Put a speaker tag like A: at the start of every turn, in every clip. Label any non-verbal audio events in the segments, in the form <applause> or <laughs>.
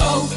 A: Oh,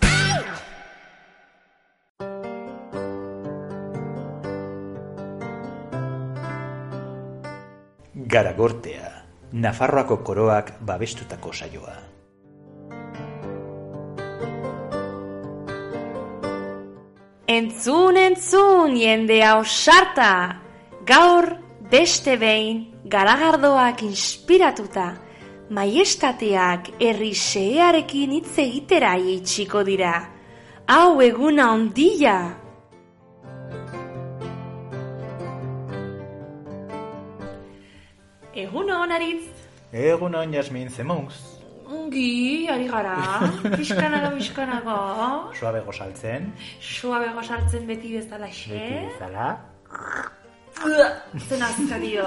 B: Garagortea, Nafarroako koroak babestutako saioa.
C: Entzun, entzun, jendea osarta! Gaur, beste behin, garagardoak inspiratuta, maiestateak herri xearekin hitz egitera itxiko dira. Hau eguna ondila! Egun honaritz!
B: Egun on jasmin zemuz,
C: Ongi, ari
B: <laughs>
C: gara, pixkanaga, pixkanaga,
B: suabe gozaltzen,
C: suabe gozartzen beti bezala
B: beti bezala.
C: Zen azka dio.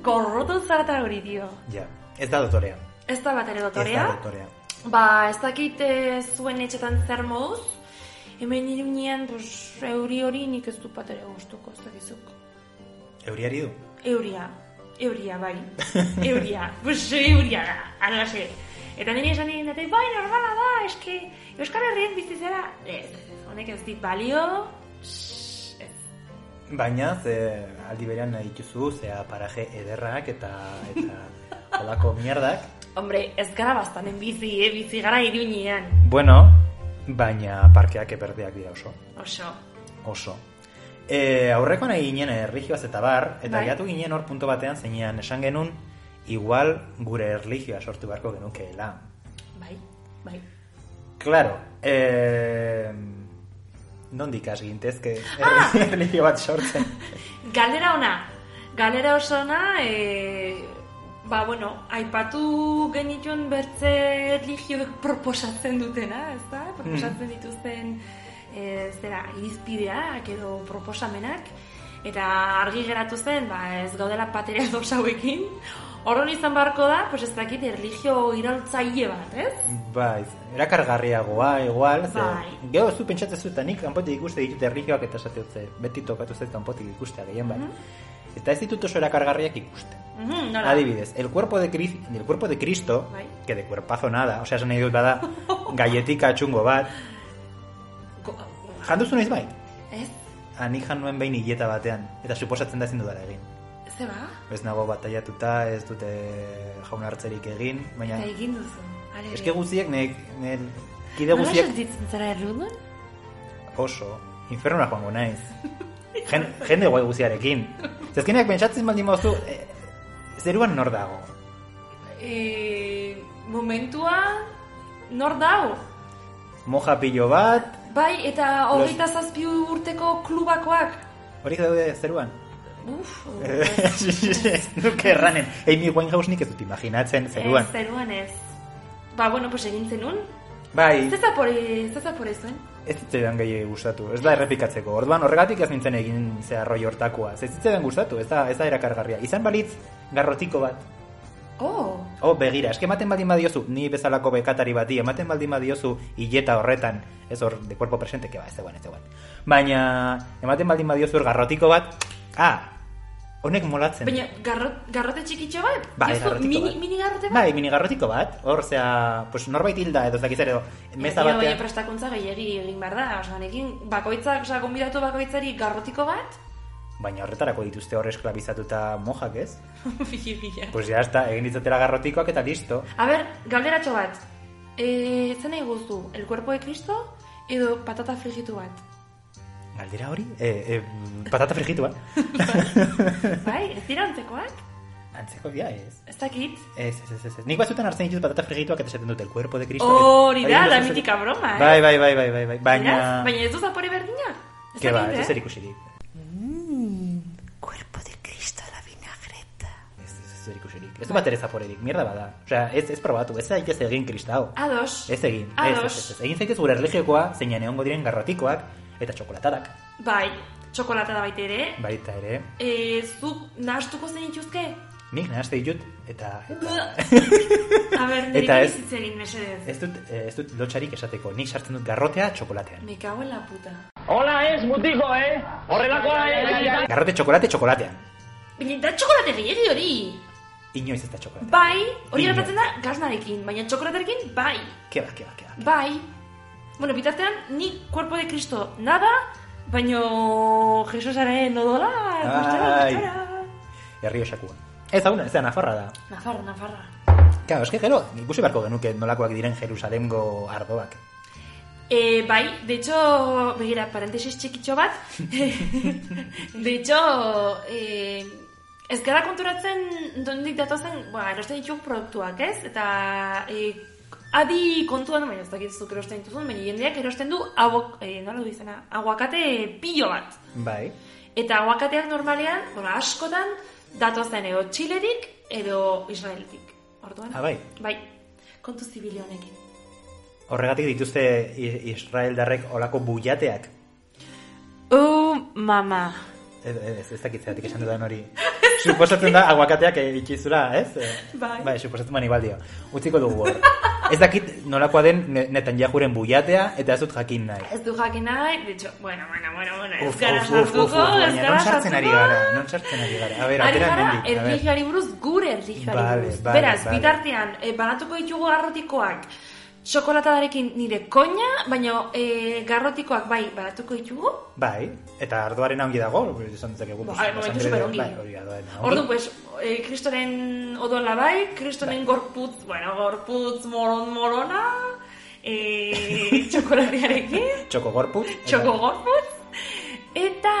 C: Gorrotu zarata hori dio.
B: Ja, ez da dotorea.
C: Ez da bat ere
B: Ez da
C: dotorea.
B: dotorea.
C: Ba, ez dakit eh, zuen etxetan zer moduz. Hemen irunean, pues, euri hori nik ez du bat ere gustuko, ez dakizuk.
B: Euriari du.
C: Euria. Euria,
B: <laughs>
C: bai. Euria. Pues, euria da, alaxe. Eta nire esan nien dut, bai, normala da, eske, Euskal Herrien bizizera, ez, ez, honek ez dit balio, Shhh, ez.
B: Baina, ze aldi berean nahi dituzu, ze paraje ederrak eta eta holako mierdak.
C: Hombre, ez gara bastanen bizi, eh, bizi gara irunean.
B: Bueno, baina parkeak eberdeak dira oso.
C: Oso,
B: Oso. E, aurrekoan egin ginen erlijioaz eta bar, eta
C: Bai.
B: gaiatu ginen hor punto batean zeinean esan genuen, igual gure erlijioa sortu beharko genukeela.
C: Bai, bai.
B: Claro, e, nondik has gintezke
C: Ah!
B: <laughs> erlijio bat sortzen.
C: Galera ona. Galera oso ona, e, ba, bueno, aipatu genituen bertze erlijioek proposatzen dutena, ez da? Proposatzen dituzten e, zera, irizpideak edo proposamenak. Eta argi geratu zen, ba, ez gaudela patera dos hauekin. Horren izan beharko da, pues ez dakit, erlijio iraultzaile bat, ez?
B: Bai, erakargarriagoa, igual, ze,
C: Bai.
B: gero zu pentsatzen zu eta nik kanpotik ikuste ditut erlijioak eta esateu ze, beti tokatu zait kanpotik ikustea gehien bat. Eta ez ditut oso erakargarriak ikusten.
C: Mhm, nola?
B: Adibidez, el cuerpo de, Cris- el cuerpo de Cristo,
C: Bai.
B: que de cuerpazo nada, osea, esan nahi dut
C: <laughs>
B: bada, galletika txungo bat,
C: Go-
B: janduzu noiz bai?
C: ez?
B: Ani jan nuen behin hileta batean, eta suposatzen da ezin dudala egin.
C: Ze ba?
B: Ez nago bataiatuta, ez dute jaun hartzerik egin, baina...
C: Eta egin duzu. Are,
B: Eske guztiek, ne, ne, kide
C: Nola
B: guztiek
C: sentitzen zara errudun?
B: oso, infernura joango naiz. Gen, jende guai guztiarekin. Zezkeneak pentsatzen baldin bauzu, eh, zeruan nor dago.
C: E, momentua nor dau?
B: Moja pilo bat,
C: Bai, eta hogeita zazpi urteko klubakoak.
B: horiek daude zeruan.
C: Uf,
B: ez <laughs> nuke erranen. Amy Winehouse nik ez dut imaginatzen <laughs> zeruan.
C: Ez, zeruan ez. Ba, bueno, pues egin zenun.
B: Bai,
C: Ez zapore, ez zapore zuen.
B: ez zitzaidan gehiago gustatu, ez da errepikatzeko. Orduan horregatik ez nintzen egin ze arroi hortakoa. Ez zitzaidan gustatu, ez da, ez da erakargarria. Izan balitz, garrotiko bat.
C: Oh,
B: Oh, begira, eske ematen baldin badiozu, ni bezalako bekatari bati, ematen baldin badiozu hileta horretan, ez hor, de cuerpo presente, que ba, ez zegoen, ez zegoen. Baina, ematen baldin badiozu hor garrotiko bat, ah, honek molatzen.
C: baina garrot, garrote txikitxo bat?
B: Bai,
C: Diozu,
B: garrotiko
C: mini,
B: bat.
C: Mini garrote bat?
B: Bai, minigarrotiko bat. Hor, zea, pues, norbait hilda edo ez dakiz ere, meza
C: Baina,
B: batean.
C: baina prestakuntza gehiagi egin behar da, osganekin, bakoitzak, osea, gonbidatu bakoitzari garrotiko bat? <laughs>
B: Baina horretarako dituzte hor esklabizatuta mojak, ez?
C: Bila, bila.
B: Pues ya está, egin ditzatela garrotikoak eta listo.
C: A ber, galderatxo bat. E, zen nahi guzu, el cuerpo de Cristo edo patata frigitu
B: <laughs>
C: bat?
B: Galdera hori? E, e, patata
C: <laughs>
B: frigitua.
C: Bai, ez dira antzekoak?
B: Antzeko dia, ez?
C: Ez dakit.
B: Ez, ez, ez, ez. Nik batzutan hartzen ditut patata frigituak eta esaten dut el cuerpo de Cristo.
C: Hori da,
B: Bai,
C: la
B: ez, ez, ez.
C: mitika broma, eh?
B: Bai, bai, bai, bai, bai, bai. Baina...
C: Beraz, baina ez du zapore berdina? Ez
B: Ke ba,
C: dakit,
B: ez
C: eh?
B: zer ikusirik.
C: Mm, Cuerpo de Cristo la vinagreta.
B: Ez, ez, ez zer ikusirik. Ez du bat ere zaporerik, mierda bada. Osea, ez, ez probatu, ez zaitez egin kristau.
C: Ados.
B: Ez egin, ez, ez,
C: Ados.
B: Bai. ez, ez. Egin zaitez gure erlijiokoa, zeinan egongo diren garrotikoak eta txokolatadak.
C: Bai, txokolata da baita ere.
B: Baita ere.
C: E, zuk nahastuko zen
B: <laughs>
C: ituzke?
B: Nik nahazte ditut, eta... eta
C: A ber, nire
B: Eta ez-
C: hitz egin mesedez.
B: ez dut, eh, ez dut lotxarik esateko, nik sartzen dut garrotea txokolatean.
C: Me cago en la puta.
D: Hola ez, mutiko, eh? Horrelakoa ez.
B: Garrote txokolate txokolatean.
C: Baina da txokolate gehiagi hori.
B: Inoiz ez da txokolatea.
C: Bai, hori
B: Ino.
C: gertatzen da gaznarekin, baina txokolatearekin bai.
B: Keba, keba, keba.
C: Bai. Bueno, bitartean ni cuerpo de Cristo nada, baino Jesusaren odola, gustara,
B: Ai.
C: gustara.
B: Errioxakua. Ez hau, ez da, Nafarra da.
C: Nafarra, Nafarra.
B: Claro, eske gero, ikusi beharko genuke nolakoak diren Jerusalemgo ardoak.
C: E, bai, de hecho, begira, parentesis txikitxo bat. <laughs> de hecho, e, ez gara konturatzen dondik datozen, ba, erosten ditugu produktuak, ez? Eta e, adi kontuan, baina ez dakit zuk erosten dituzun, baina jendeak erosten du abok, e, nola du izena, aguakate pilo bat.
B: Bai.
C: Eta aguakateak normalean, bueno, askotan, datozen edo Txilerik edo Israeltik. Orduan?
B: Ah, bai.
C: Bai, kontu zibile honekin.
B: Horregatik dituzte I- Israeldarrek olako buiateak.
C: Oh, mama.
B: Ez, ez, ez dakit zeratik esan dudan
C: <laughs>
B: hori. Suposatzen da aguakateak eh, itxizula, ez? Eh,
C: Bai.
B: Bai, suposatzen mani baldio. Utziko dugu hor. Ez dakit nolakoa den Ne- Netanyahuren buiatea eta ez dut jakin nahi.
C: Ez du jakin nahi, de hecho, bueno, bueno, bueno, bueno, ez
B: Uf,
C: gara
B: uf, uf,
C: sartuko,
B: uf, uf,
C: ez
B: baina
C: gara
B: non sartzen ari
C: sartuko.
B: gara, non sartzen ari gara. A ber,
C: Ari
B: atera
C: gara,
B: hemendik, a ber.
C: erlijioari buruz, gure erlijioari
B: Vale,
C: buruz.
B: vale,
C: Beraz,
B: vale.
C: bitartean, e, banatuko ditugu garrotikoak, txokolatadarekin nire koina, baina e, garrotikoak bai, banatuko ditugu.
B: Bai, eta ardoaren ongi dago, esan dezakegu. pues,
C: Ba, momentu
B: basangrede-
C: superongi.
B: Bai, hori ardoarena ongi.
C: Ordu, pues, e, kristoren odola bai, kristoren gorputz, bueno, gorputz moron morona, e, txokolatearekin.
B: Txoko
C: <laughs>
B: gorput.
C: Txoko gorpuz. Eta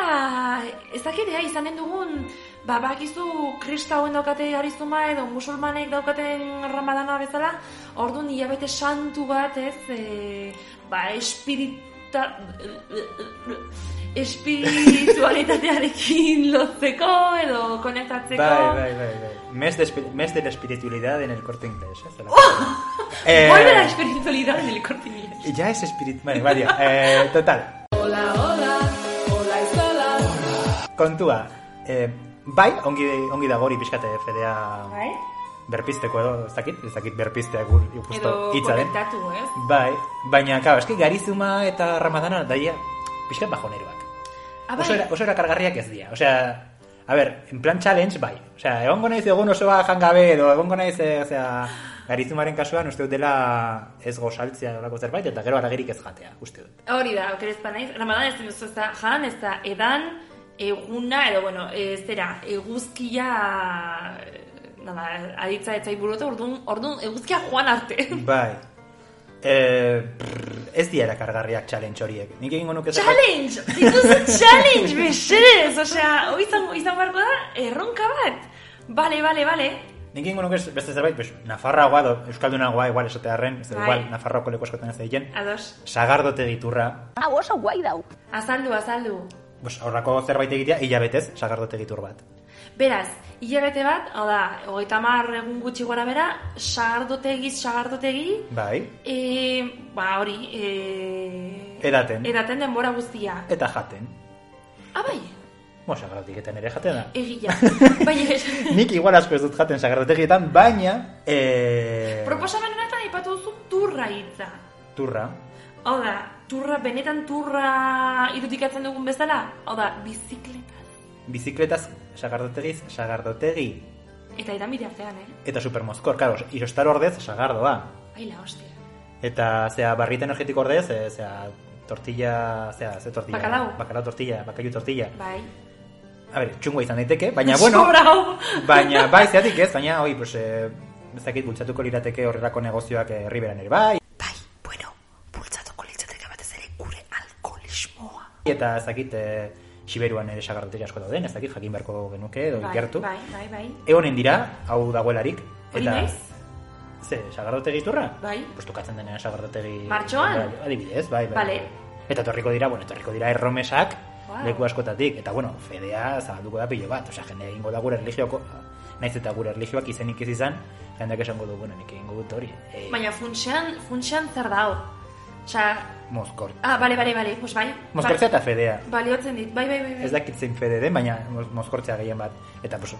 C: ez dakitea izanen dugun ba bakizu kristauen daukate arizuma edo musulmanek daukaten ramadana bezala, orduan hilabete santu bat, ez, e, ba, espirita, espiritualitatearekin <laughs> lotzeko edo konektatzeko.
B: Bai, bai, bai, bai. Mes de, espi- mes de la espiritualidad en el corte inglés. Ez, dela- Eh,
C: <laughs> Vuelve la espiritualidad en el corte inglés.
B: Ya es espirit... Bueno, badio, eh, total. Kontua, eh, bai, ongi, ongi dago hori pixkate fedea
C: Bai?
B: berpizteko edo, ez dakit, ez dakit berpizteak ur, justo
C: Edo
B: hitza eh. den.
C: konektatu, ez?
B: Bai, baina, claro, eski garizuma eta ramadana daia pixkat bajoneroak.
C: Ah,
B: Oso,
C: bai.
B: era, oso erakargarriak ez dira. Osea, a ber, en plan challenge, bai. Osea, egongo naiz egun osoa jangabe edo egongo naiz, e, osea, garizumaren kasuan uste dut dela ez gozaltzea olako zerbait eta gero aragerik ez jatea, uste dut.
C: Hori da, okerezpa naiz. Ramadan ez duzu ez da jan, ez da edan, eguna, edo, bueno, e, zera, eguzkia... Nada, aditza etzai buruta, orduan, orduan eguzkia joan arte.
B: Bai. E, prr, ez dira erakargarriak challenge horiek. Nik egingo nuke zerbait-
C: challenge! Dituzu challenge, mesedez! Osea, hoi izan, hoi izan beharko da, erronka bat! Bale, bale, bale.
B: Nik egingo nuke beste zerbait, pues, Nafarragoa edo Euskaldunagoa igual esatearren, ez da
C: Bai.
B: igual, Nafarroako leku askotan ez da egiten.
C: Ados.
B: Sagardote giturra,
E: Hau oso guai dau.
C: Azaldu, azaldu.
B: pues, horrako zerbait egitea, hilabetez, sagardote gitur bat.
C: Beraz, hilabete bat, hau da, hogeita mar egun gutxi gora bera, sagardotegiz, sagardotegi,
B: Bai.
C: E, ba, hori... E...
B: Edaten.
C: Edaten denbora guztia.
B: Eta jaten.
C: Ah, bai,
B: Bo, sagardotegietan ere jaten da. <laughs>
C: egia. Bai, Baina,
B: Nik igual asko ez dut jaten sagardotegietan, baina... E...
C: proposamen honetan aipatu duzu turra hitza.
B: Turra.
C: Hau da, turra, benetan turra irudikatzen dugun bezala? Hau da, bizikleta.
B: Bizikletaz, sagardotegiz, sagardotegi.
C: Eta edan bide artean, eh?
B: Eta supermozkor, karo, irostar ordez, sagardoa.
C: Baila, hostia.
B: Eta, zea, barrita energetiko ordez, e, zea, tortilla, zea, ze tortilla.
C: Bacalao.
B: Bacalao tortilla, bacalao tortilla.
C: Bai.
B: A ber, txungo izan daiteke,
C: <laughs>
B: baina bueno.
C: Sobrao.
B: baina, bai, zeatik ez, baina, hoi, pues, e, ez dakit bultzatuko lirateke horrelako negozioak e, herriberan ere, bai.
E: Bai, bueno, bultzatuko litzateke batez ere gure alkoholismoa.
B: Eta ez dakit, e, Siberuan ere sagardotegia asko dauden, ez dakit, jakin beharko genuke, edo
C: <laughs> Bai,
B: ikertu.
C: bai, bai, bai.
B: Egonen dira, hau dagoelarik.
C: Hori naiz?
B: Ze, sagardotegi iturra?
C: Bai.
B: Pues tokatzen denean sagardotegi...
C: Martxoan?
B: Adibidez, bai, bai.
C: Vale.
B: Eta torriko dira, bueno, torriko dira erromesak,
C: Wow.
B: leku askotatik. Eta, bueno, fedea zabalduko da pilo bat. Osea, jende egingo da gure erligioko... Naiz eta gure erligioak izenik ez izan, jendeak esango du, bueno, nik egingo dut hori. E,
C: Baina funtsean, funtsean zer dao. Osa,
B: Mozkor.
C: ah, bale, bale, bale, pues bai.
B: Mozkortzea eta fedea.
C: Baliotzen dit, bai, bai, bai. bai.
B: Ez dakit zein fede den, baina moz- mozkortzea gehien bat. Eta, pues,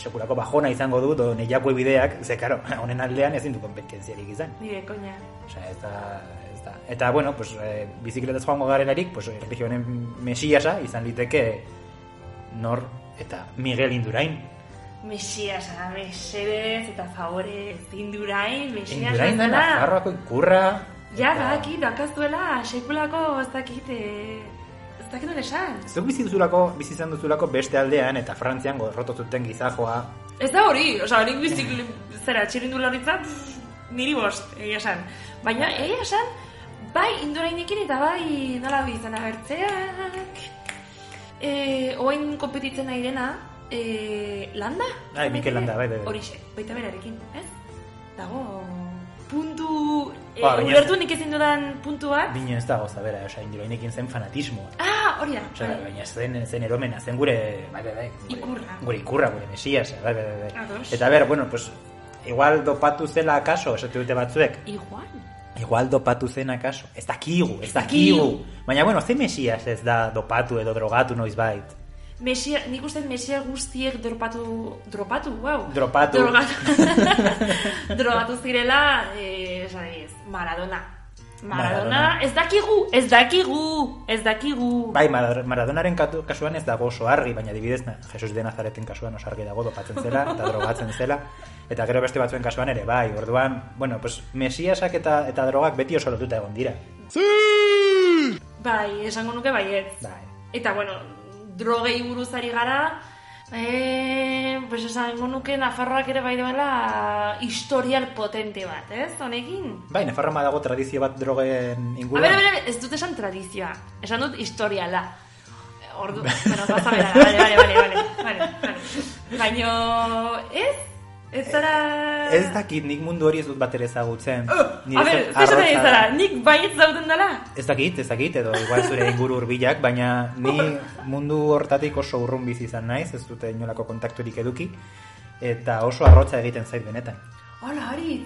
B: sekurako bajona izango du, do nahiako bideak, ze, karo, honen aldean ezin du kompetentziarik izan.
C: Nire, koña.
B: Osea, ez da, ez da. Eta, bueno, pues, e, bizikletaz joango garelarik, pues, erlijio honen mesiasa izan liteke nor eta Miguel Indurain.
C: Mesias, ah, mesedez, eta favorez, indurain, mesias,
B: Indurain da, Nafarroako ikurra.
C: Ja, ba,
B: eta-
C: badakit, dakazuela, sekulako, ez dakit, eh, ez dakit nola esan.
B: Zuk bizi duzulako, bizi izan duzulako beste aldean eta Frantzian gorroto zuten gizajoa.
C: Ez da hori, osea, nik bizik zera txirindularitza pff, niri bost, egia esan. Baina, egia esan, bai indurainekin eta bai nola du izan agertzeak. E, oain kompetitzen nahi dena, e, landa?
B: Ai, Mikel Landa, bai, bai, bai.
C: Horixe, baita berarekin, ez? Dago, puntu, e,
B: Ba, baina-
C: ulertu nik ezin dudan puntu bat.
B: Bino ez dago zabera, osea, Indurainekin zen fanatismoa.
C: Ah, hori da.
B: Osea,
C: bai.
B: baina zen, zen eromena, zen gure, bai, bai, bai, gure,
C: Ikurra.
B: gure ikurra, gure mesias, bai, bai, bai, bai.
C: Ados.
B: Eta ber, bueno, pues, igual dopatu zela akaso, esatu dute batzuek,
C: Igual.
B: igual dopatu zen akaso, ez dakigu, ez dakigu. Baina, bueno, ze mesias ez da dopatu edo drogatu noizbait.
C: Mesia, nik uste mesia guztiek dropatu, dropatu, wow.
B: Dropatu. <laughs>
C: Drogatu, drogatu zirela, eh, esan ez, Maradona. Maradona.
B: Maradona.
C: ez dakigu, ez dakigu, ez dakigu.
B: Bai, Mar- Maradonaren katu- kasuan ez dago oso argi, baina adibidez, na, Jesus de Nazareten kasuan oso argi dago dopatzen zela eta drogatzen zela. Eta gero beste batzuen kasuan ere, bai, orduan, bueno, pues, mesiasak eta, eta drogak beti oso lotuta egon dira.
C: Bai, esango nuke baietz.
B: Bai.
C: Eta, bueno, drogei buruz ari gara, eh, pues esango nuke Nafarroak ere bai duela historial potente bat, ez, honekin?
B: Bai, Nafarroa dago tradizio bat drogen
C: A
B: inguruan.
C: ber, a ber, ez dut esan tradizioa, esan dut historiala. Ordu, bueno, gauza bera, bale, bale, bale, bale, bale, bale. Baino, ez? Ez zara...
B: Ez dakit, nik mundu hori ez dut bat ere ezagutzen.
C: Oh,
B: Nire
C: a ber,
B: zen
C: zesan
B: arrotza
C: ari
B: da.
C: zara, nik baiet zauden dela?
B: Ez dakit, ez dakit, edo igual zure inguru hurbilak, baina ni mundu hortatik oso urrun bizi izan naiz, ez dute inolako kontakturik eduki, eta oso arrotza egiten zait benetan.
C: Hola, hori,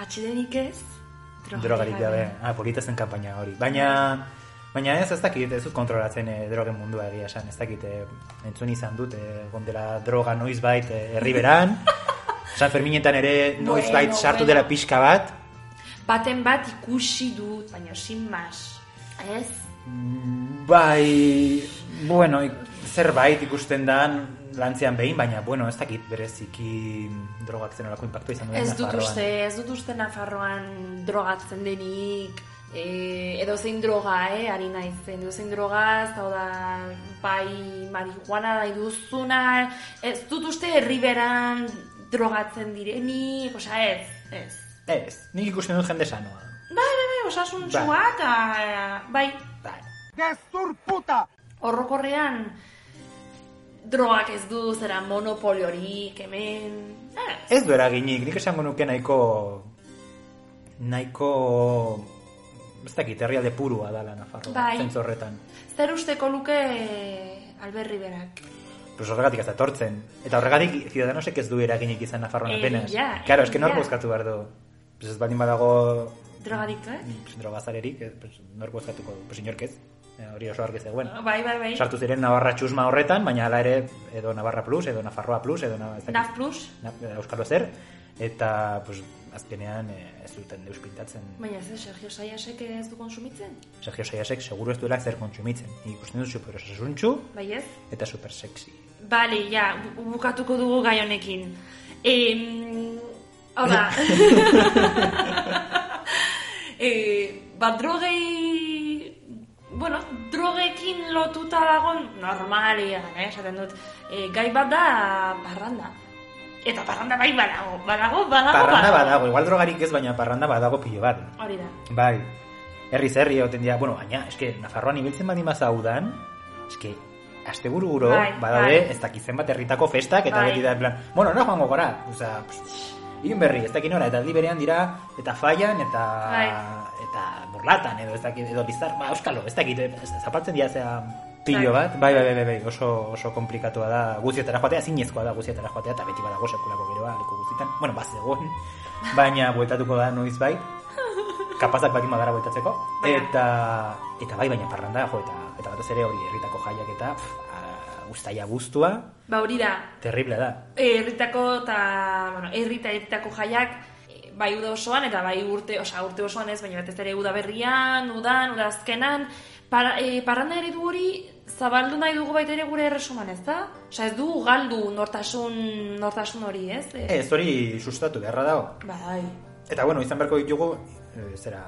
C: atxidenik ez? drogarik
B: Drogarik gabe, ah, polita zen kanpaina hori. Baina, baina ez, ez dakit, ez dut kontrolatzen eh, drogen mundua egia esan, ez dakit, eh, entzun izan dut, eh, gondela droga noizbait eh, herri
C: <laughs>
B: beran, San Ferminetan ere noizbait
C: Bueno,
B: sartu
C: bueno.
B: dela pixka bat,
C: Baten bat ikusi dut, baina sin mas. Ez?
B: Bai, bueno, ik- zerbait ikusten dan lantzean behin, baina, bueno, ez dakit bereziki drogak zenolako impactu izan duen
C: Ez dut
B: Nafarroan.
C: uste, ez dut uste Nafarroan drogatzen denik, e, edo zein droga, eh, ari naizen, edo zein droga, hau da, bai marihuana da iduzuna, ez dut uste herriberan drogatzen direnik, osea ez, ez.
B: Ez, nik ikusten dut jende sanoa.
C: Bai, bai, bai, osasun
B: Bai.
C: txua, eta bai,
B: Bai.
C: horrokorrean drogak ez du, zera monopoliorik, hemen, ez.
B: Ez du eraginik, nik esango nuke nahiko... Nahiko... Ez dakit, herrialde purua dala Nafarroa,
C: Bai.
B: zentzu horretan.
C: Zer usteko luke eh, Albert Riberak?
B: Pues horregatik ez datortzen. Eta horregatik Ciudadanosek ez du eraginik izan Nafarroan
C: Egia,
B: apenas. Claro, eske nor
C: egia.
B: bozkatu behar du. Pues ez baldin badago
C: Drogadiktoek?
B: Pues, drogazarerik, eh, pues, nork bozkatuko du, pues, inork ez, Eh, hori oso argi zegoen.
C: Bai, bai, bai.
B: Sartu ziren Navarra txusma horretan, baina hala ere, edo Navarra Plus, edo Nafarroa Plus, edo na, ez dakit,
C: Naf Plus?
B: Na, eh, Euskalo zer, eta pues, azkenean eh, ez duten deus pintatzen.
C: Baina ez, Sergio Saiasek ez du konsumitzen?
B: Sergio Saiasek seguru ez duela zer kontsumitzen. Nik ikusten dut super osasuntxu
C: Bai ez?
B: eta super sexy.
C: Bale, ja, bu- bukatuko dugu gai honekin. Em, hau
B: <laughs>
C: da. e, ba, drogei... Bueno, drogekin lotuta dagon normalian, eh, esaten dut. E, gai bat da barranda. Eta barranda bai badago, badago, badago, ba-
B: Parranda badago, igual drogarik ez, baina parranda badago pilo bat.
C: Hori da.
B: Bai, herriz herri egoten dira, bueno, baina, eske, Nafarroan ibiltzen badin bazaudan, eske, asteburu guro,
C: Bai,
B: badaude,
C: bai.
B: ez dakitzen bat herritako festak, eta
C: Bai.
B: beti da, en plan, bueno, no joango gora, oza, irun berri, ez dakin ora, eta aldi berean dira, eta faian, eta,
C: Bai.
B: eta burlatan, edo ez dakit, edo lizar, ba, euskalo, ez dakit, eh, zapaltzen dira, zea, pilo
C: Bai.
B: bat, bai, bai, bai, bai, bai, oso, oso komplikatua da, guzietara joatea, zinezkoa da guzietara joatea, eta beti bai. badago sekulako geroa, leku guztietan, bueno, bazegoen, baina bueltatuko da noizbait, kapazak baldin badara bueltatzeko.
C: Baina.
B: Eta, eta bai, baina parranda, jo, eta, eta batez ere hori herritako jaiak eta pff, a- ustaia guztua,
C: Ba hori da,
B: terrible da.
C: herritako E, eta, bueno, herri eta herritako jaiak eh, bai uda osoan eta bai urte, osea urte osoan ez, baina batez ere udaberrian, udan, udazkenan, para, e, parranda ere du hori zabaldu nahi dugu baita ere gure erresuman, ez da? Osea ez dugu galdu nortasun, nortasun hori, ez? E,
B: Ez, hori sustatu beharra dago.
C: Bai,
B: Eta bueno, izan beharko ditugu, e, zera,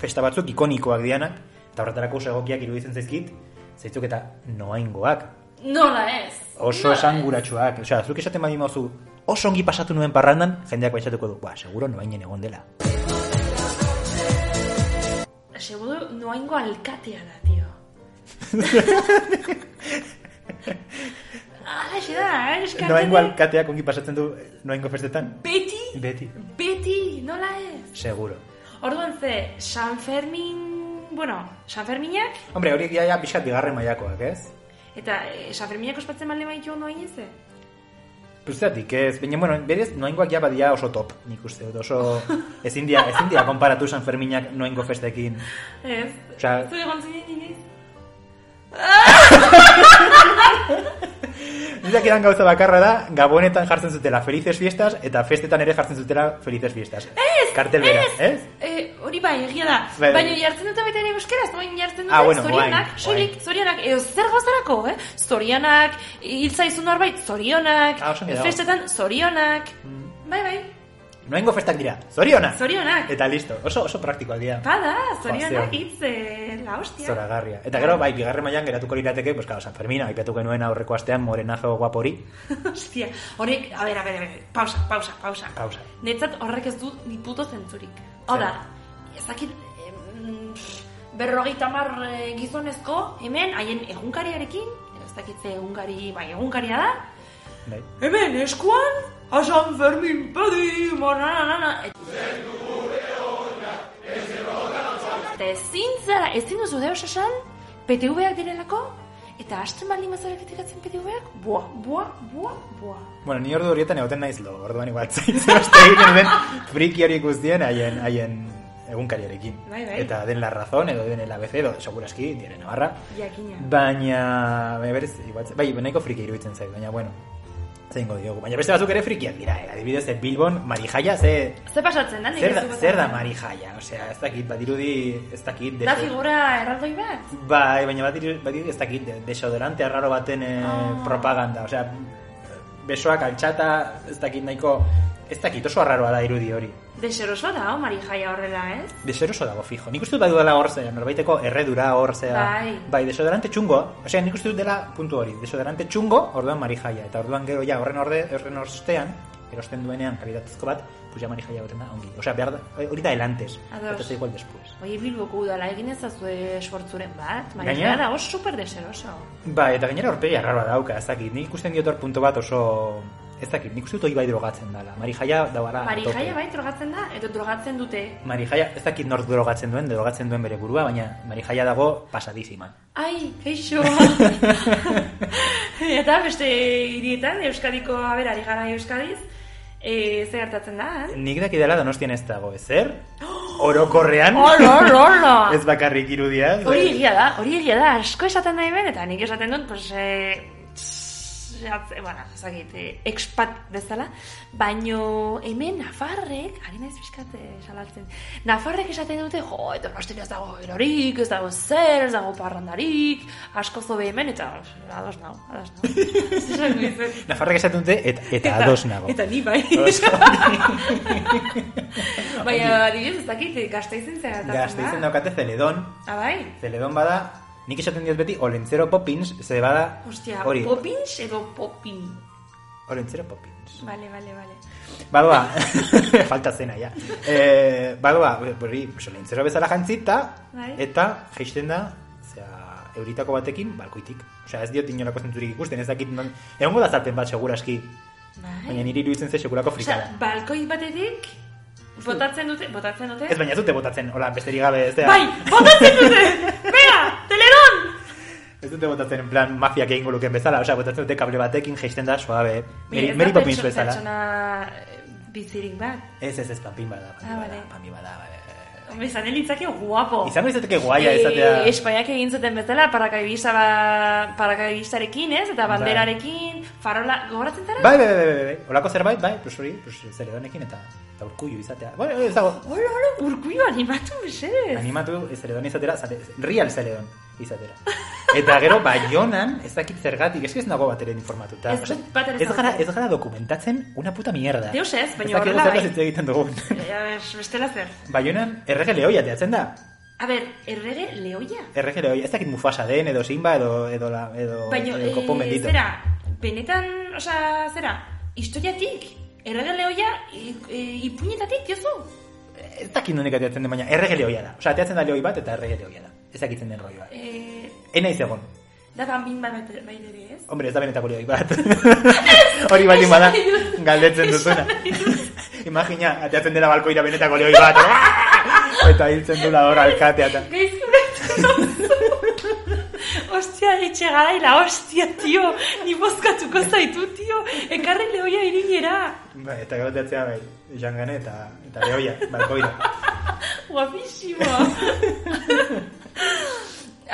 B: festa batzuk ikonikoak dianak, eta horretarako oso egokiak iruditzen zaizkit, zaitzuk eta noaingoak,
C: nola ez?
B: oso
C: Nola
B: esanguratsuak. Osea, zuk esaten bali mauzu, oso ongi pasatu nuen parrandan, jendeak baixatuko du, ba, seguro noainen egon dela.
C: ez? Seguru noaingo alkatea da, tio. Hala, xe da, eh? eskatzen
B: Noaingo
C: du.
B: alkateak ongi pasatzen du eh, noaingo festetan?
C: Beti,
B: Beti.
C: beti, nola ez?
B: Seguro.
C: Orduan ze, San Fermin, bueno, San Ferminak,
B: Hombre, horiek ja, ja pixkat bigarren mailakoak, ez?
C: eta e, San Ferminak ospatzen bale baitu noain ez? eh?
B: Puztatik, ez, baina, bueno, berez, noaingoak ja badia oso top, nik uste dut, <laughs> oso... ezin dia, ezin dia, konparatu San Ferminak noaingo festekin.
C: Ez,
B: Osea-
C: zu egon zinen iniz?
B: Nireak edan gauza bakarra da, Gabonetan jartzen zutela Felices Fiestas, eta festetan ere jartzen zutela Felices Fiestas. Ez! Kartel bera, ez?
C: E, hori bai, egia da.
B: Bai, bai.
C: Baina jartzen dut baita ere euskeraz, noain jartzen dut,
B: Ah, bueno,
C: zorionak,
B: orain,
C: soilik, zorionak, edo zer gozarako, eh? Zorionak, hil zaizun norbait, zorionak,
B: Ah, oso Mm. ondo dago.
C: festetan, zorionak, bai, bai,
B: Noengo festak dira, zorionak! Bai,
C: zorionak,
B: Eta listo, oso, oso praktikoak dira.
C: bada,
B: Joa,
C: zorionak
B: ze-
C: hitz, eh, la hostia.
B: Zoragarria. Eta gero, bai, bigarren mailan geratuko lirateke, pues, claro, San Fermina, aipatu genuen aurreko astean morenazo guapori.
C: <laughs> Hostia, horrek, a ber, a ber, a ber, pausa, pausa, pausa.
B: Pausa.
C: Netzat horrek ez du ni puto zentzurik. Hau da, ezakit, em, berrogeita mar eh, gizonezko, hemen, haien egunkariarekin, ez dakit ze egunkari, bai, egunkaria da,
B: Bai.
C: hemen eskuan, a San Fermin pedi, monanana, et... Eta ezin zara, e ezin duzu deus esan, PTV-ak direlako, eta hasten baldin mazarek etikatzen PTV-ak, boa, boa, boa, boa.
B: Bueno, ni ordu horietan egoten naiz lo, orduan igual <laughs> zaitze beste egiten den friki hori guztien haien, haien egunkariarekin.
C: Bai, bai.
B: Eta den la razón, edo den el ABC, edo seguraski, diaren nabarra.
C: Jakina.
B: Baina, baina berez, igual, bai, nahiko friki iruditzen zait, baina, bueno, zeingo diogu. Baina beste batzuk ere frikiak dira, eh? adibidez, eh, Bilbon, marijaia, ze...
C: Ze pasatzen da, nik
B: Zer
C: ez
B: da,
C: dut
B: zer da
C: pasatzen.
B: marijaia? Osea, ez dakit, badirudi, ez dakit...
C: Da
B: deso-
C: figura e erraldoi bat?
B: Bai, baina badirudi, badirudi ez dakit, de- desodorante arraro baten eh,
C: Ah.
B: propaganda, osea, besoak altxata, ez dakit nahiko... Ez dakit, oso arraroa da irudi hori.
C: Deseroso da, oh, Mari Jaia horrela, ez?
B: Deseroso dago fijo. Nik uste dut badudala hor zea, norbaiteko erredura hor zea.
C: Bai.
B: Bai, desodorante txungo. Osea, nik uste dut dela puntu hori. Desodorante txungo, orduan marijaia. Eta orduan gero ja horren orde, horren ostean, erosten duenean kalitatezko bat, pues ja marijaia goten da, ongi. Osea, behar da, hori da el antes.
C: Ados.
B: Eta igual después.
C: Oie, Bilboko udala egin ezazue sortzuren bat, e Mari
B: Gainera?
C: Jaia da, oso super deseroso.
B: Bai, eta gainera horpegi arrarba dauka, ez dakit. Nik ikusten diot hor puntu bat oso... Ez dakit, nik uste dut hori bai drogatzen dela. Marijaia dauara...
C: Mari
B: a Ah, tope.
C: Jaia bai drogatzen da, edo drogatzen dute.
B: Marijaia, ez dakit nor drogatzen duen, drogatzen duen bere burua, baina marijaia dago pasadizima.
C: Ai, <laughs> keixo! Eta beste hirietan, Euskadiko, a ber, ari gara Euskadiz, e, ze gertatzen da, han?
B: Nik daki dela donostien ez dago, ezer? Orokorrean?
C: Hola, hola, hola!
B: <laughs> ez bakarrik irudia. ez?
C: Hori egia da, hori egia da, asko esaten nahi ben, eta nik esaten dut, pues, e, atze, bueno, ezagit, eh, expat bezala, baino hemen Nafarrek, ari naiz pixkat eh, salatzen, Nafarrek esaten dute, jo, eta nostin ez dago gerorik, ez dago zer, ez dago parrandarik, asko zobe hemen, eta ados nao, ados <laughs> nao. Esan nuen,
B: Nafarrek esaten dute, eta, eta ados nago.
C: Eta ni bai. <laughs>
B: Oso.
C: Baina, adibidez, ez dakit, eh, gazteizen zera. gertatzen da.
B: Gazteizen daukate zeledon.
C: Ah, bai?
B: Zeledon bada, nik esaten diot beti, olentzero popins, ze bada...
C: Ostia,
B: hori,
C: popins edo popin.
B: Olentzero popins.
C: Vale, vale, vale.
B: Badoa, <laughs> falta zena, ja. E, badoa, hori, pues, olentzero bezala jantzita,
C: Bai.
B: eta jaisten da, zera, euritako batekin, balkoitik. Osea, ez diot inolako zentzurik ikusten, ez dakit non... Egongo da zarpen bat, seguraski.
C: Bai.
B: Baina niri iruditzen ze sekulako
C: Osea, bai.
B: frikada.
C: balkoi batetik botatzen dute, botatzen dute?
B: Ez baina ez dute botatzen, hola, besterik gabe ez da.
C: Bai, botatzen dute! Bea, teledon!
B: Ez dute botatzen en plan mafiak egingo luken bezala, osea, botatzen dute kable batekin jaisten da suabe. Meri,
C: ez
B: Mary
C: da
B: Poppins
C: pertso-
B: bezala.
C: Pertsona eh, bizirik bat.
B: Ez, ez, ez, panpin bada, panpin
C: Ah,
B: bada,
C: vale. Oh.
B: panpin bada, bada.
C: Hombre, izan elitzake guapo.
B: Izango izateke guaia izatea.
C: Eh, Espainiak egin zuten bezala parakaibiza ba, parakaibizarekin, ez? Eta banderarekin, farola, gogoratzen zara?
B: Bai, bai, bai, bai, bai. Olako zerbait, bai, plus hori, plus zer edonekin eta, eta urkullu izatea. Bueno, ez dago,
C: Hola, hola, urkuio animatu, mesedez.
B: animatu zeredon izatera, zare, real zeredon izatera. Eta gero, Baionan, ez dakit zergatik, eski ez nago bat ere informatuta.
C: Ez,
B: Osea,
C: bat ere
B: ez, gara,
C: zaudete.
B: ez gara dokumentatzen una puta mierda.
C: Deus ez, baina
B: Ez dakigu
C: horrela
B: zertaz
C: bai.
B: hitz egiten dugun.
C: Eh, a ber, Bestela zer.
B: Baionan, errege lehoia teatzen da.
C: A ber, errege lehoia.
B: Errege lehoia, ez dakit Mufasa den, edo Simba, edo, edo, la, edo,
C: Baina,
B: edo Kopo
C: eh,
B: Mendito.
C: zera, benetan, osea, zera, historiatik, errege lehoia, i- i- ipuñetatik, diozu?
B: Ez dakit nondik ateatzen den, baina errege lehoia da. Osa, ateatzen da lehoi bat eta errege lehoia da. Ez dakitzen den roioa.
C: Eh,
B: Ena egon.
C: da bambin bat baitere, ez?
B: Hombre, ez da benetako lehi bat. <laughs> Hori baldin bada, galdetzen duzuna. Imagina, ateatzen dela balkoira benetako lehi bat. <laughs> eta hiltzen dula hor alkatea. Eta...
C: Ostia, etxe garaila, ostia, tio, ni bozkatuko zaitu, tio, ekarri lehoia irinera,
B: Bai, eta gero ateatzea, bai, jangane eta, eta lehoia, balkoira.
C: guapísimo. <laughs>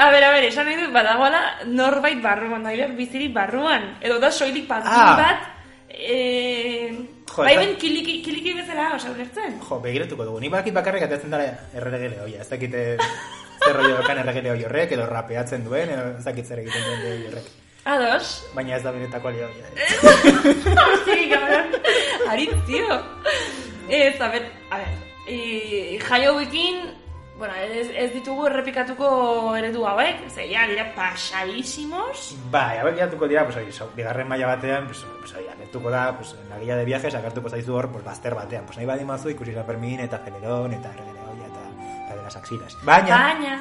C: A ber, a ber, esan nahi dut, badagoala norbait barruan, nahiak bizirik barruan, edo da soilik patin
B: Ah.
C: bat, eh,
B: Jo,
C: bai
B: eta-
C: ben kiliki, kiliki bezala, osa, ulertzen?
B: Jo, begiratuko dugu. Nik bakit bakarrik ateatzen dela errege lehoia. Ez dakit eh, zer rollo dokan errege lehoia horrek, edo rapeatzen duen, edo ez dakit zer egiten duen lehoia horrek.
C: Ados, <laughs>
B: Baina ez da benetako lehoia.
C: Sí, cabrón. Aritz, tío. Ez, a ber, a ber. E, jai hauekin, bueno, ez, ez ditugu errepikatuko eredu hauek, ze ja, dira pasadísimos.
B: Bai, a geratuko dira, pues, hori, sau- bigarren maila batean, pues, pues, hori, agertuko da, pues, en la guía de viajes, agertuko zaizu hor, pues, bazter batean. Pues, nahi badi mazu, ikusi San Fermin, eta Celedón, eta Erregereoia, eta, eta de las axilas. Baina,
C: Baina,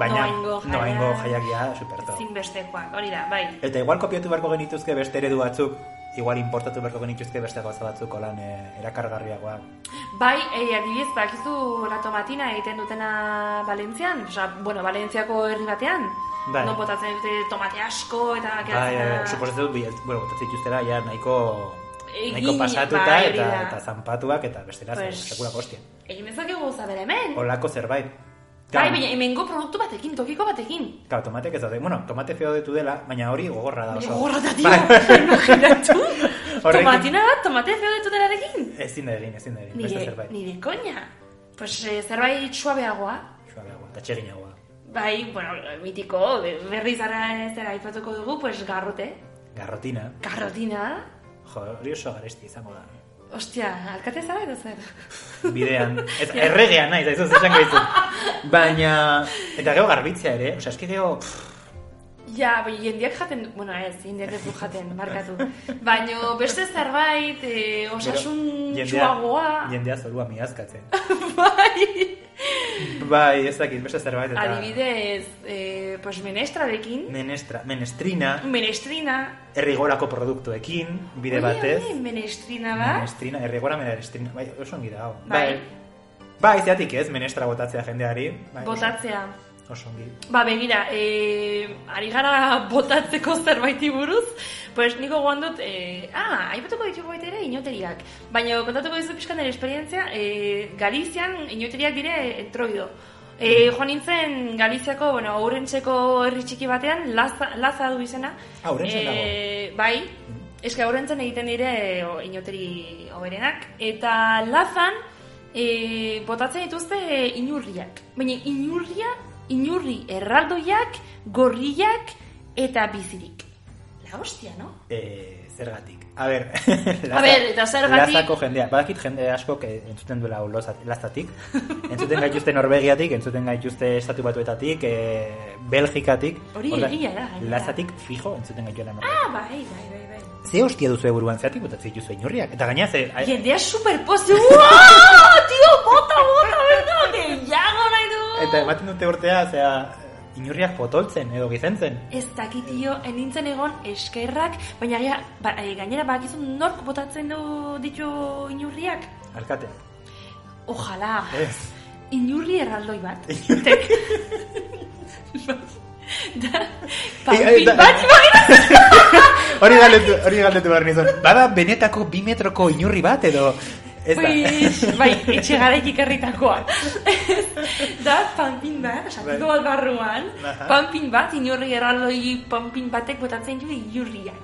B: baina,
C: noaingo jaiak.
B: noaingo jaiak ja, superto.
C: Ezinbestekoak, hori da, bai.
B: Eta igual kopiatu beharko genituzke beste eredu batzuk, igual importatu beharko genituzke beste gauza batzuk, olan, eh, erakargarriagoak.
C: Bai, e, adibidez, bakizu la tomatina egiten dutena Valentzian, osea, bueno, Valentziako herri batean.
B: Bai.
C: Non botatzen dute tomate asko eta
B: Bai,
C: geratzen
B: eh,
C: da-
B: suposatzen dut, bil- bueno, botatzen dituztela, ja, nahiko,
C: Egin,
B: nahiko pasatuta,
C: bai, hori
B: eta,
C: da.
B: eta zanpatuak, eta bestela,
C: Pues-
B: sekulako hostia.
C: Egin dezakegu zaber hemen.
B: Olako zerbait.
C: Bai,
B: Gaur-
C: baina hemengo produktu batekin, tokiko batekin.
B: Claro, tomateak ez daude. Bueno, tomate feo detu dela, baina hori gogorra da oso.
C: Gorra da,
B: Bai.
C: tio, imaginatu.
B: <laughs> Horrekin-
C: Tomatina bat, tomate feo ditu delarekin.
B: Ezin da egin, ezin da egin. Beste
C: Nire,
B: zerbait.
C: nire koña. Pues eh, zerbait suabeagoa.
B: Suabeagoa, eta txeginagoa.
C: Bai, bueno, mitiko, be- berriz ara ez dela aipatuko dugu, pues garrote,
B: Garrotina.
C: garrotina.
B: Jo, hori oso garesti izango da.
C: Ostia, alkate zara edo
B: <laughs>
C: zer? <laughs>
B: Bidean. Ez, erregean naiz, ez esango dizu. Baina... Eta gero garbitzea ere, osea, eski gero... pff,
C: Ja, bai, jendeak jaten, du- bueno ez, jendeak ez du jaten,
B: <laughs>
C: markatu. Baino beste zerbait, eh,
B: gero
C: osasun
B: jendea-
C: txuagoa.
B: Jendea zorua miazkatzen.
C: <laughs> Bai.
B: bai, ez dakit, beste zerbait eta...
C: Adibidez, eh, pues menestrarekin,
B: Menestra, menestrina,
C: menestrina,
B: errigorako produktuekin, bide
C: Oie,
B: batez.
C: oie, menestrina bat.
B: Menestrina, errigora menestrina. Bai, oso ongi dago.
C: Bai.
B: Bai, zeatik ez, menestra botatzea jendeari. Bai, oso-
C: Botatzea.
B: Oso ongi.
C: Ba, begira, e, ari gara botatzeko zerbaiti buruz, pues niko goan dut, e, ah, aipatuko ditugu baita ere inoteriak. Baina kontatuko dizu pixkan nire esperientzia, e, Galizian inoteriak dire entroido. E,
B: Mm.
C: joan nintzen Galiziako, bueno, aurrentzeko herri txiki batean, laza, laza du izena.
B: Ah, Ourentzen dago.
C: E, bai, eske aurrentzen egiten dire e, o- inoteri hoberenak. Eta lazan, e, botatzen dituzte e, inurriak. Baina inurria, inurri erraldoiak, gorriak eta bizirik. La hostia, no?
B: Eh, zergatik. A <laughs> ber,
C: A ber, eta zergatik-
B: Lazako jendea. Badakit jende askok eh, entzuten duela hau loza-
C: <laughs>
B: lazatik. Entzuten gaituzte Norvegiatik, entzuten gaituzte Estatu Batuetatik, eh, Belgikatik.
C: Hori
B: Horrela,
C: egia da, gainera.
B: Lazatik fijo entzuten gaituela Norvegia.
C: Ah, bai, bai, bai, bai.
B: Ze hostia duzu buruan zeatik, botatzen dituzu inurriak. Eta gaina ze...
C: Jendea superpozio, uau, tio, bota, bota, bota, gehiago nahi du.
B: Eta ematen dute urtea, zea, inurriak potoltzen edo gizentzen.
C: Ez dakit dio, enintzen egon eskerrak, baina gaia- ba, e, gainera bakizun nork botatzen du ditu inurriak?
B: Alkateak.
C: Ojalá,
B: Ez.
C: inurri erraldoi
B: <laughs>
C: bat. Tek. da,
B: Eh, eh,
C: panpin
B: da-
C: Bai, bat, imagina-
B: <laughs> Hori galdetu, hori galdetu behar nizun. Bada benetako bi metroko inurri bat edo... Ez da.
C: Pues,
B: <laughs>
C: bai, etxe garaik ikerritakoa. <laughs> da, panpin bat,
B: Bai.
C: sakiko bat barruan,
B: Aha.
C: panpin bat, inurri erraloi panpin batek botatzen du inurriak.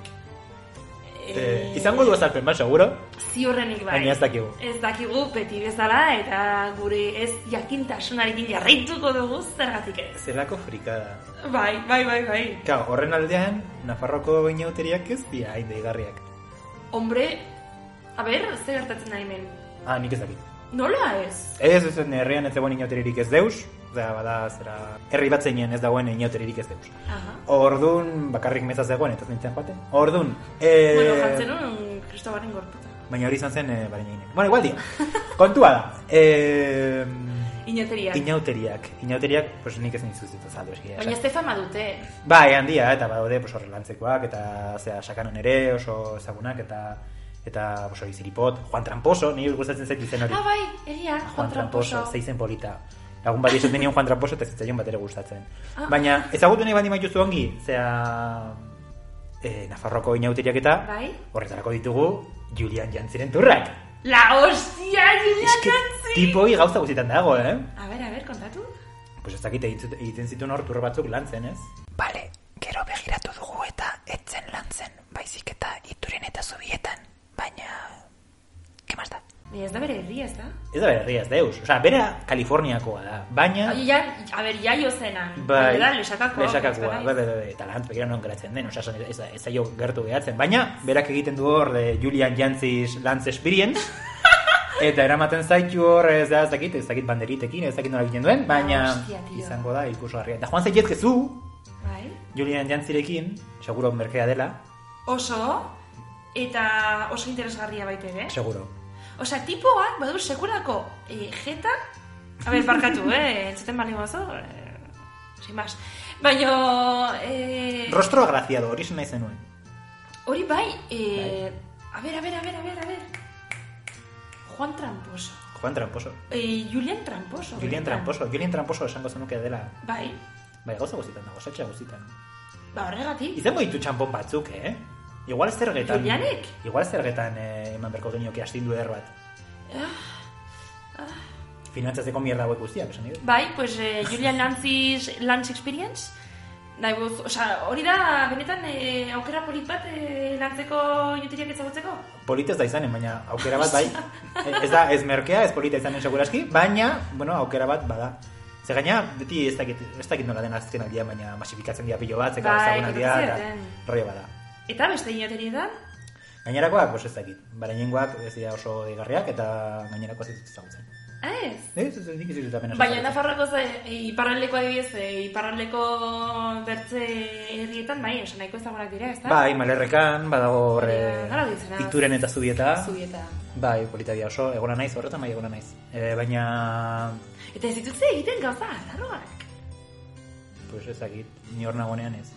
B: Eh, izango du azalpen bat, seguro?
C: Ziurrenik bai.
B: Baina ez dakigu.
C: Ez dakigu beti bezala eta gure ez jakintasunarekin jarraituko dugu zergatik ez.
B: Zelako frikada.
C: Bai, bai, bai, bai.
B: Claro, horren aldean, Nafarroko inauteriak ez dira hain deigarriak.
C: Hombre, a ber, zer gertatzen da hemen?
B: Ah, nik ez dakit.
C: Nola ez?
B: Ez, ez, ez, nire herrian ez dagoen inauteririk ez deus, da, bada, zera, herri bat zeinen ez dagoen inauteririk ez deus.
C: Aha.
B: Ordun bakarrik meza zegoen, eta ez nintzen joaten. Ordun eh,
C: Bueno, jartzen nuen kristobaren gorputa.
B: Baina hori izan zen, eh, barainak. Bueno, igual
C: <laughs>
B: dira. Kontua da. Eh,
C: Inateriak.
B: inauteriak. Inauteriak, pues nik ez nintzen zuzitza zaldu eski.
C: Baina ez fama dute.
B: Bai, handia, eta badaude, pues, horre lantzekoak, eta zera, sakanon ere, oso ezagunak, eta eta pues, hori ziripot, Juan Tramposo, ni gustatzen zait izen hori.
C: Ah, bai, egia, Juan Tramposo.
B: zeizen polita. Lagun bat esaten nion Juan Tramposo, eta zitzaion bat ere gustatzen.
C: Ah.
B: Baina, ezagutu nahi baldin maituzu ongi, zera... E, Nafarroko inauteriak eta
C: Bai.
B: horretarako ditugu Julian Jantziren turrak.
C: La hostia, Julian Jantzi!
B: tipoi gauza guztietan dago, eh?
C: A ber, a ber, kontatu?
B: Pues ez dakite egiten zituen hor turra batzuk lan zen, ez?
E: Bale, gero begiratu dugu eta etzen lan zen, baizik eta ituren eta zubietan, baina... Ke más da?
C: Baina ez da bere herria, ez da?
B: Ez da bere herria, ez deus. Osea, bera Kaliforniakoa da, baina...
C: Oie, ja, a ber, jaio zenan.
B: Bai,
C: Baina da, lesakakoa.
B: lesakakoa, bai, bai, bai, bai, eta lantz begira non geratzen den, osasun ez, da- ez zaio gertu gehatzen, baina, berak egiten du hor de Julian Jantzi's Lantz
C: <laughs>
B: Experience, eta eramaten zaitu hor, ez da, ez dakit, ez dakit banderitekin, ez dakit nola egiten duen, baina
C: Ah, Hostia, tio.
B: izango da ikusgarria. Eta joan zaitezkezu,
C: Bai.
B: Julian Jantzirekin, seguro merkea dela,
C: Oso, eta oso interesgarria baita ere.
B: seguro.
C: Osa, tipoak, badu sekulako eh, jeta... A ber, barkatu, eh? Entzuten bali gozo, eh, sin más. Baina... Eh,
B: Rostro agraciado, hori zen nahi zenuen.
C: Hori bai, eh, a ber, a ber, a ber, a ber, a ber. Juan Tramposo.
B: Juan Tramposo.
C: Eh, Julian Tramposo.
B: Julian
C: benetan.
B: Tramposo, Julian Tramposo esango zenuke dela.
C: Bai,
B: Bai, gauza guztietan dago, satxe guztietan.
C: ba horregatik.
B: Izango ditu txampon batzuk, eh? Igual zergetan...
C: Julianek?
B: Igual zergetan eh, eman berko genioke astindu er bat.
C: Ah,
B: Finantzatzeko mierda hauek guztiak, esan dira.
C: Bai, pues
B: <laughs>
C: eh, Julian Lantzi's Lantz Experience. Nahi buz, osea, hori da, benetan eh, aukera polit bat eh, lantzeko jutiriak ezagutzeko.
B: Polita ez da izanen, baina aukera bat
C: <laughs>
B: bai. Eh, ez da, ez merkea, ez polita izanen seguraski, baina, bueno, aukera bat bada. Ze gaina, beti ez dakit, ez dakit nola den azken aldia, baina masifikatzen dira pilo bat, zeka
C: Bai,
B: ezagun aldia,
C: kontatzen dioten.
B: eta rollo bada.
C: Eta beste inoteri da,
B: Gainerakoak, pues ez dakit. Barainengoak ez dira oso deigarriak, eta gainerakoak ez dut ezagutzen.
C: ez?
B: Ez, ez, ez, nik ez dut apenas
C: Baina
B: ezagutzen.
C: Nafarroko ze, e, iparraldeko adibidez, eh, iparraldeko bertze herrietan, bai, osa nahiko ezagunak dira, ez da?
B: Bai, malerrekan, badago horre
C: Eh, nola deitzen da?
B: ituren eta zubieta.
C: Zubieta.
B: Bai, polita dira oso, egona naiz, horretan bai egona naiz. E, baina,
C: Eta ez dituzte egiten gauza adarroak.
B: pues ez dakit, ni hor nagoenean ez.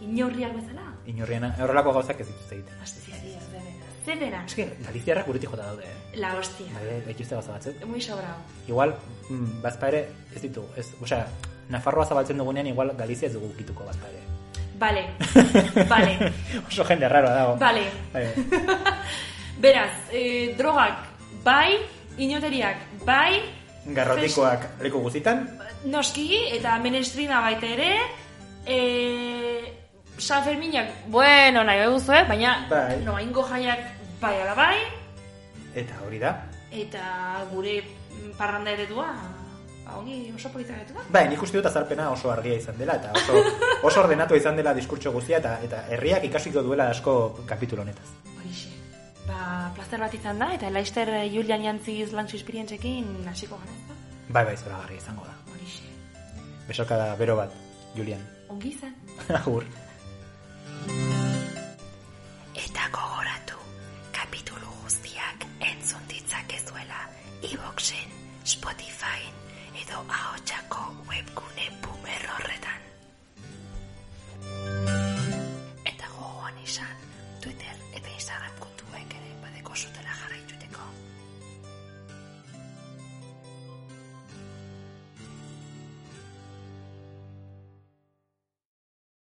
C: Inorriak bezala.
B: Inorrian, horrelako gauzak ez dituzte egiten.
C: Hostia, ez dena. Zer dena.
B: Eske, galiziarrak guretik jota daude, eh?
C: La hostia.
B: Bai, gaituzte gauza batzuk.
C: Muy sobrao.
B: Igual, mm, bazpa ere, ez ditu, ez, osea, Nafarroa zabaltzen dugunean, igual Galizia ez dugu ukituko bazpa ere. <laughs>
C: Vale. Vale.
B: oso jende raroa dago.
C: Vale.
B: Bai.
C: Beraz, eh, drogak, bai, inoteriak, bai,
B: Garrotikoak leku guztitan,
C: fest- noski, eta menestrina baita ere, eh, San Ferminak, bueno, nahi duzu, eh? baina
B: Bai.
C: noaingo jaiak bai ala bai,
B: eta hori da.
C: eta gure mm, parranda eredua, ba, ongi oso polita eredua.
B: Bai, nik uste dut azalpena oso argia izan dela eta oso, oso ordenatua izan dela diskurtso guztia eta eta herriak ikasiko duela asko kapitulo honetaz.
C: Horixe. Ba, plazer bat izan da, eta Laister eh, Julian Jantziz lantzu esperientzekin hasiko gara, ez da?
B: Bai, bai, zoragarria izango da.
C: Horixe.
B: Besoka da bero bat, Julian. <laughs>
C: Ongi izan.
B: Agur.
E: Eta gogoratu, kapitulu guztiak entzun ditzakezuela iBoxen, Spotifyen edo ahotsako webgune boomer horretan.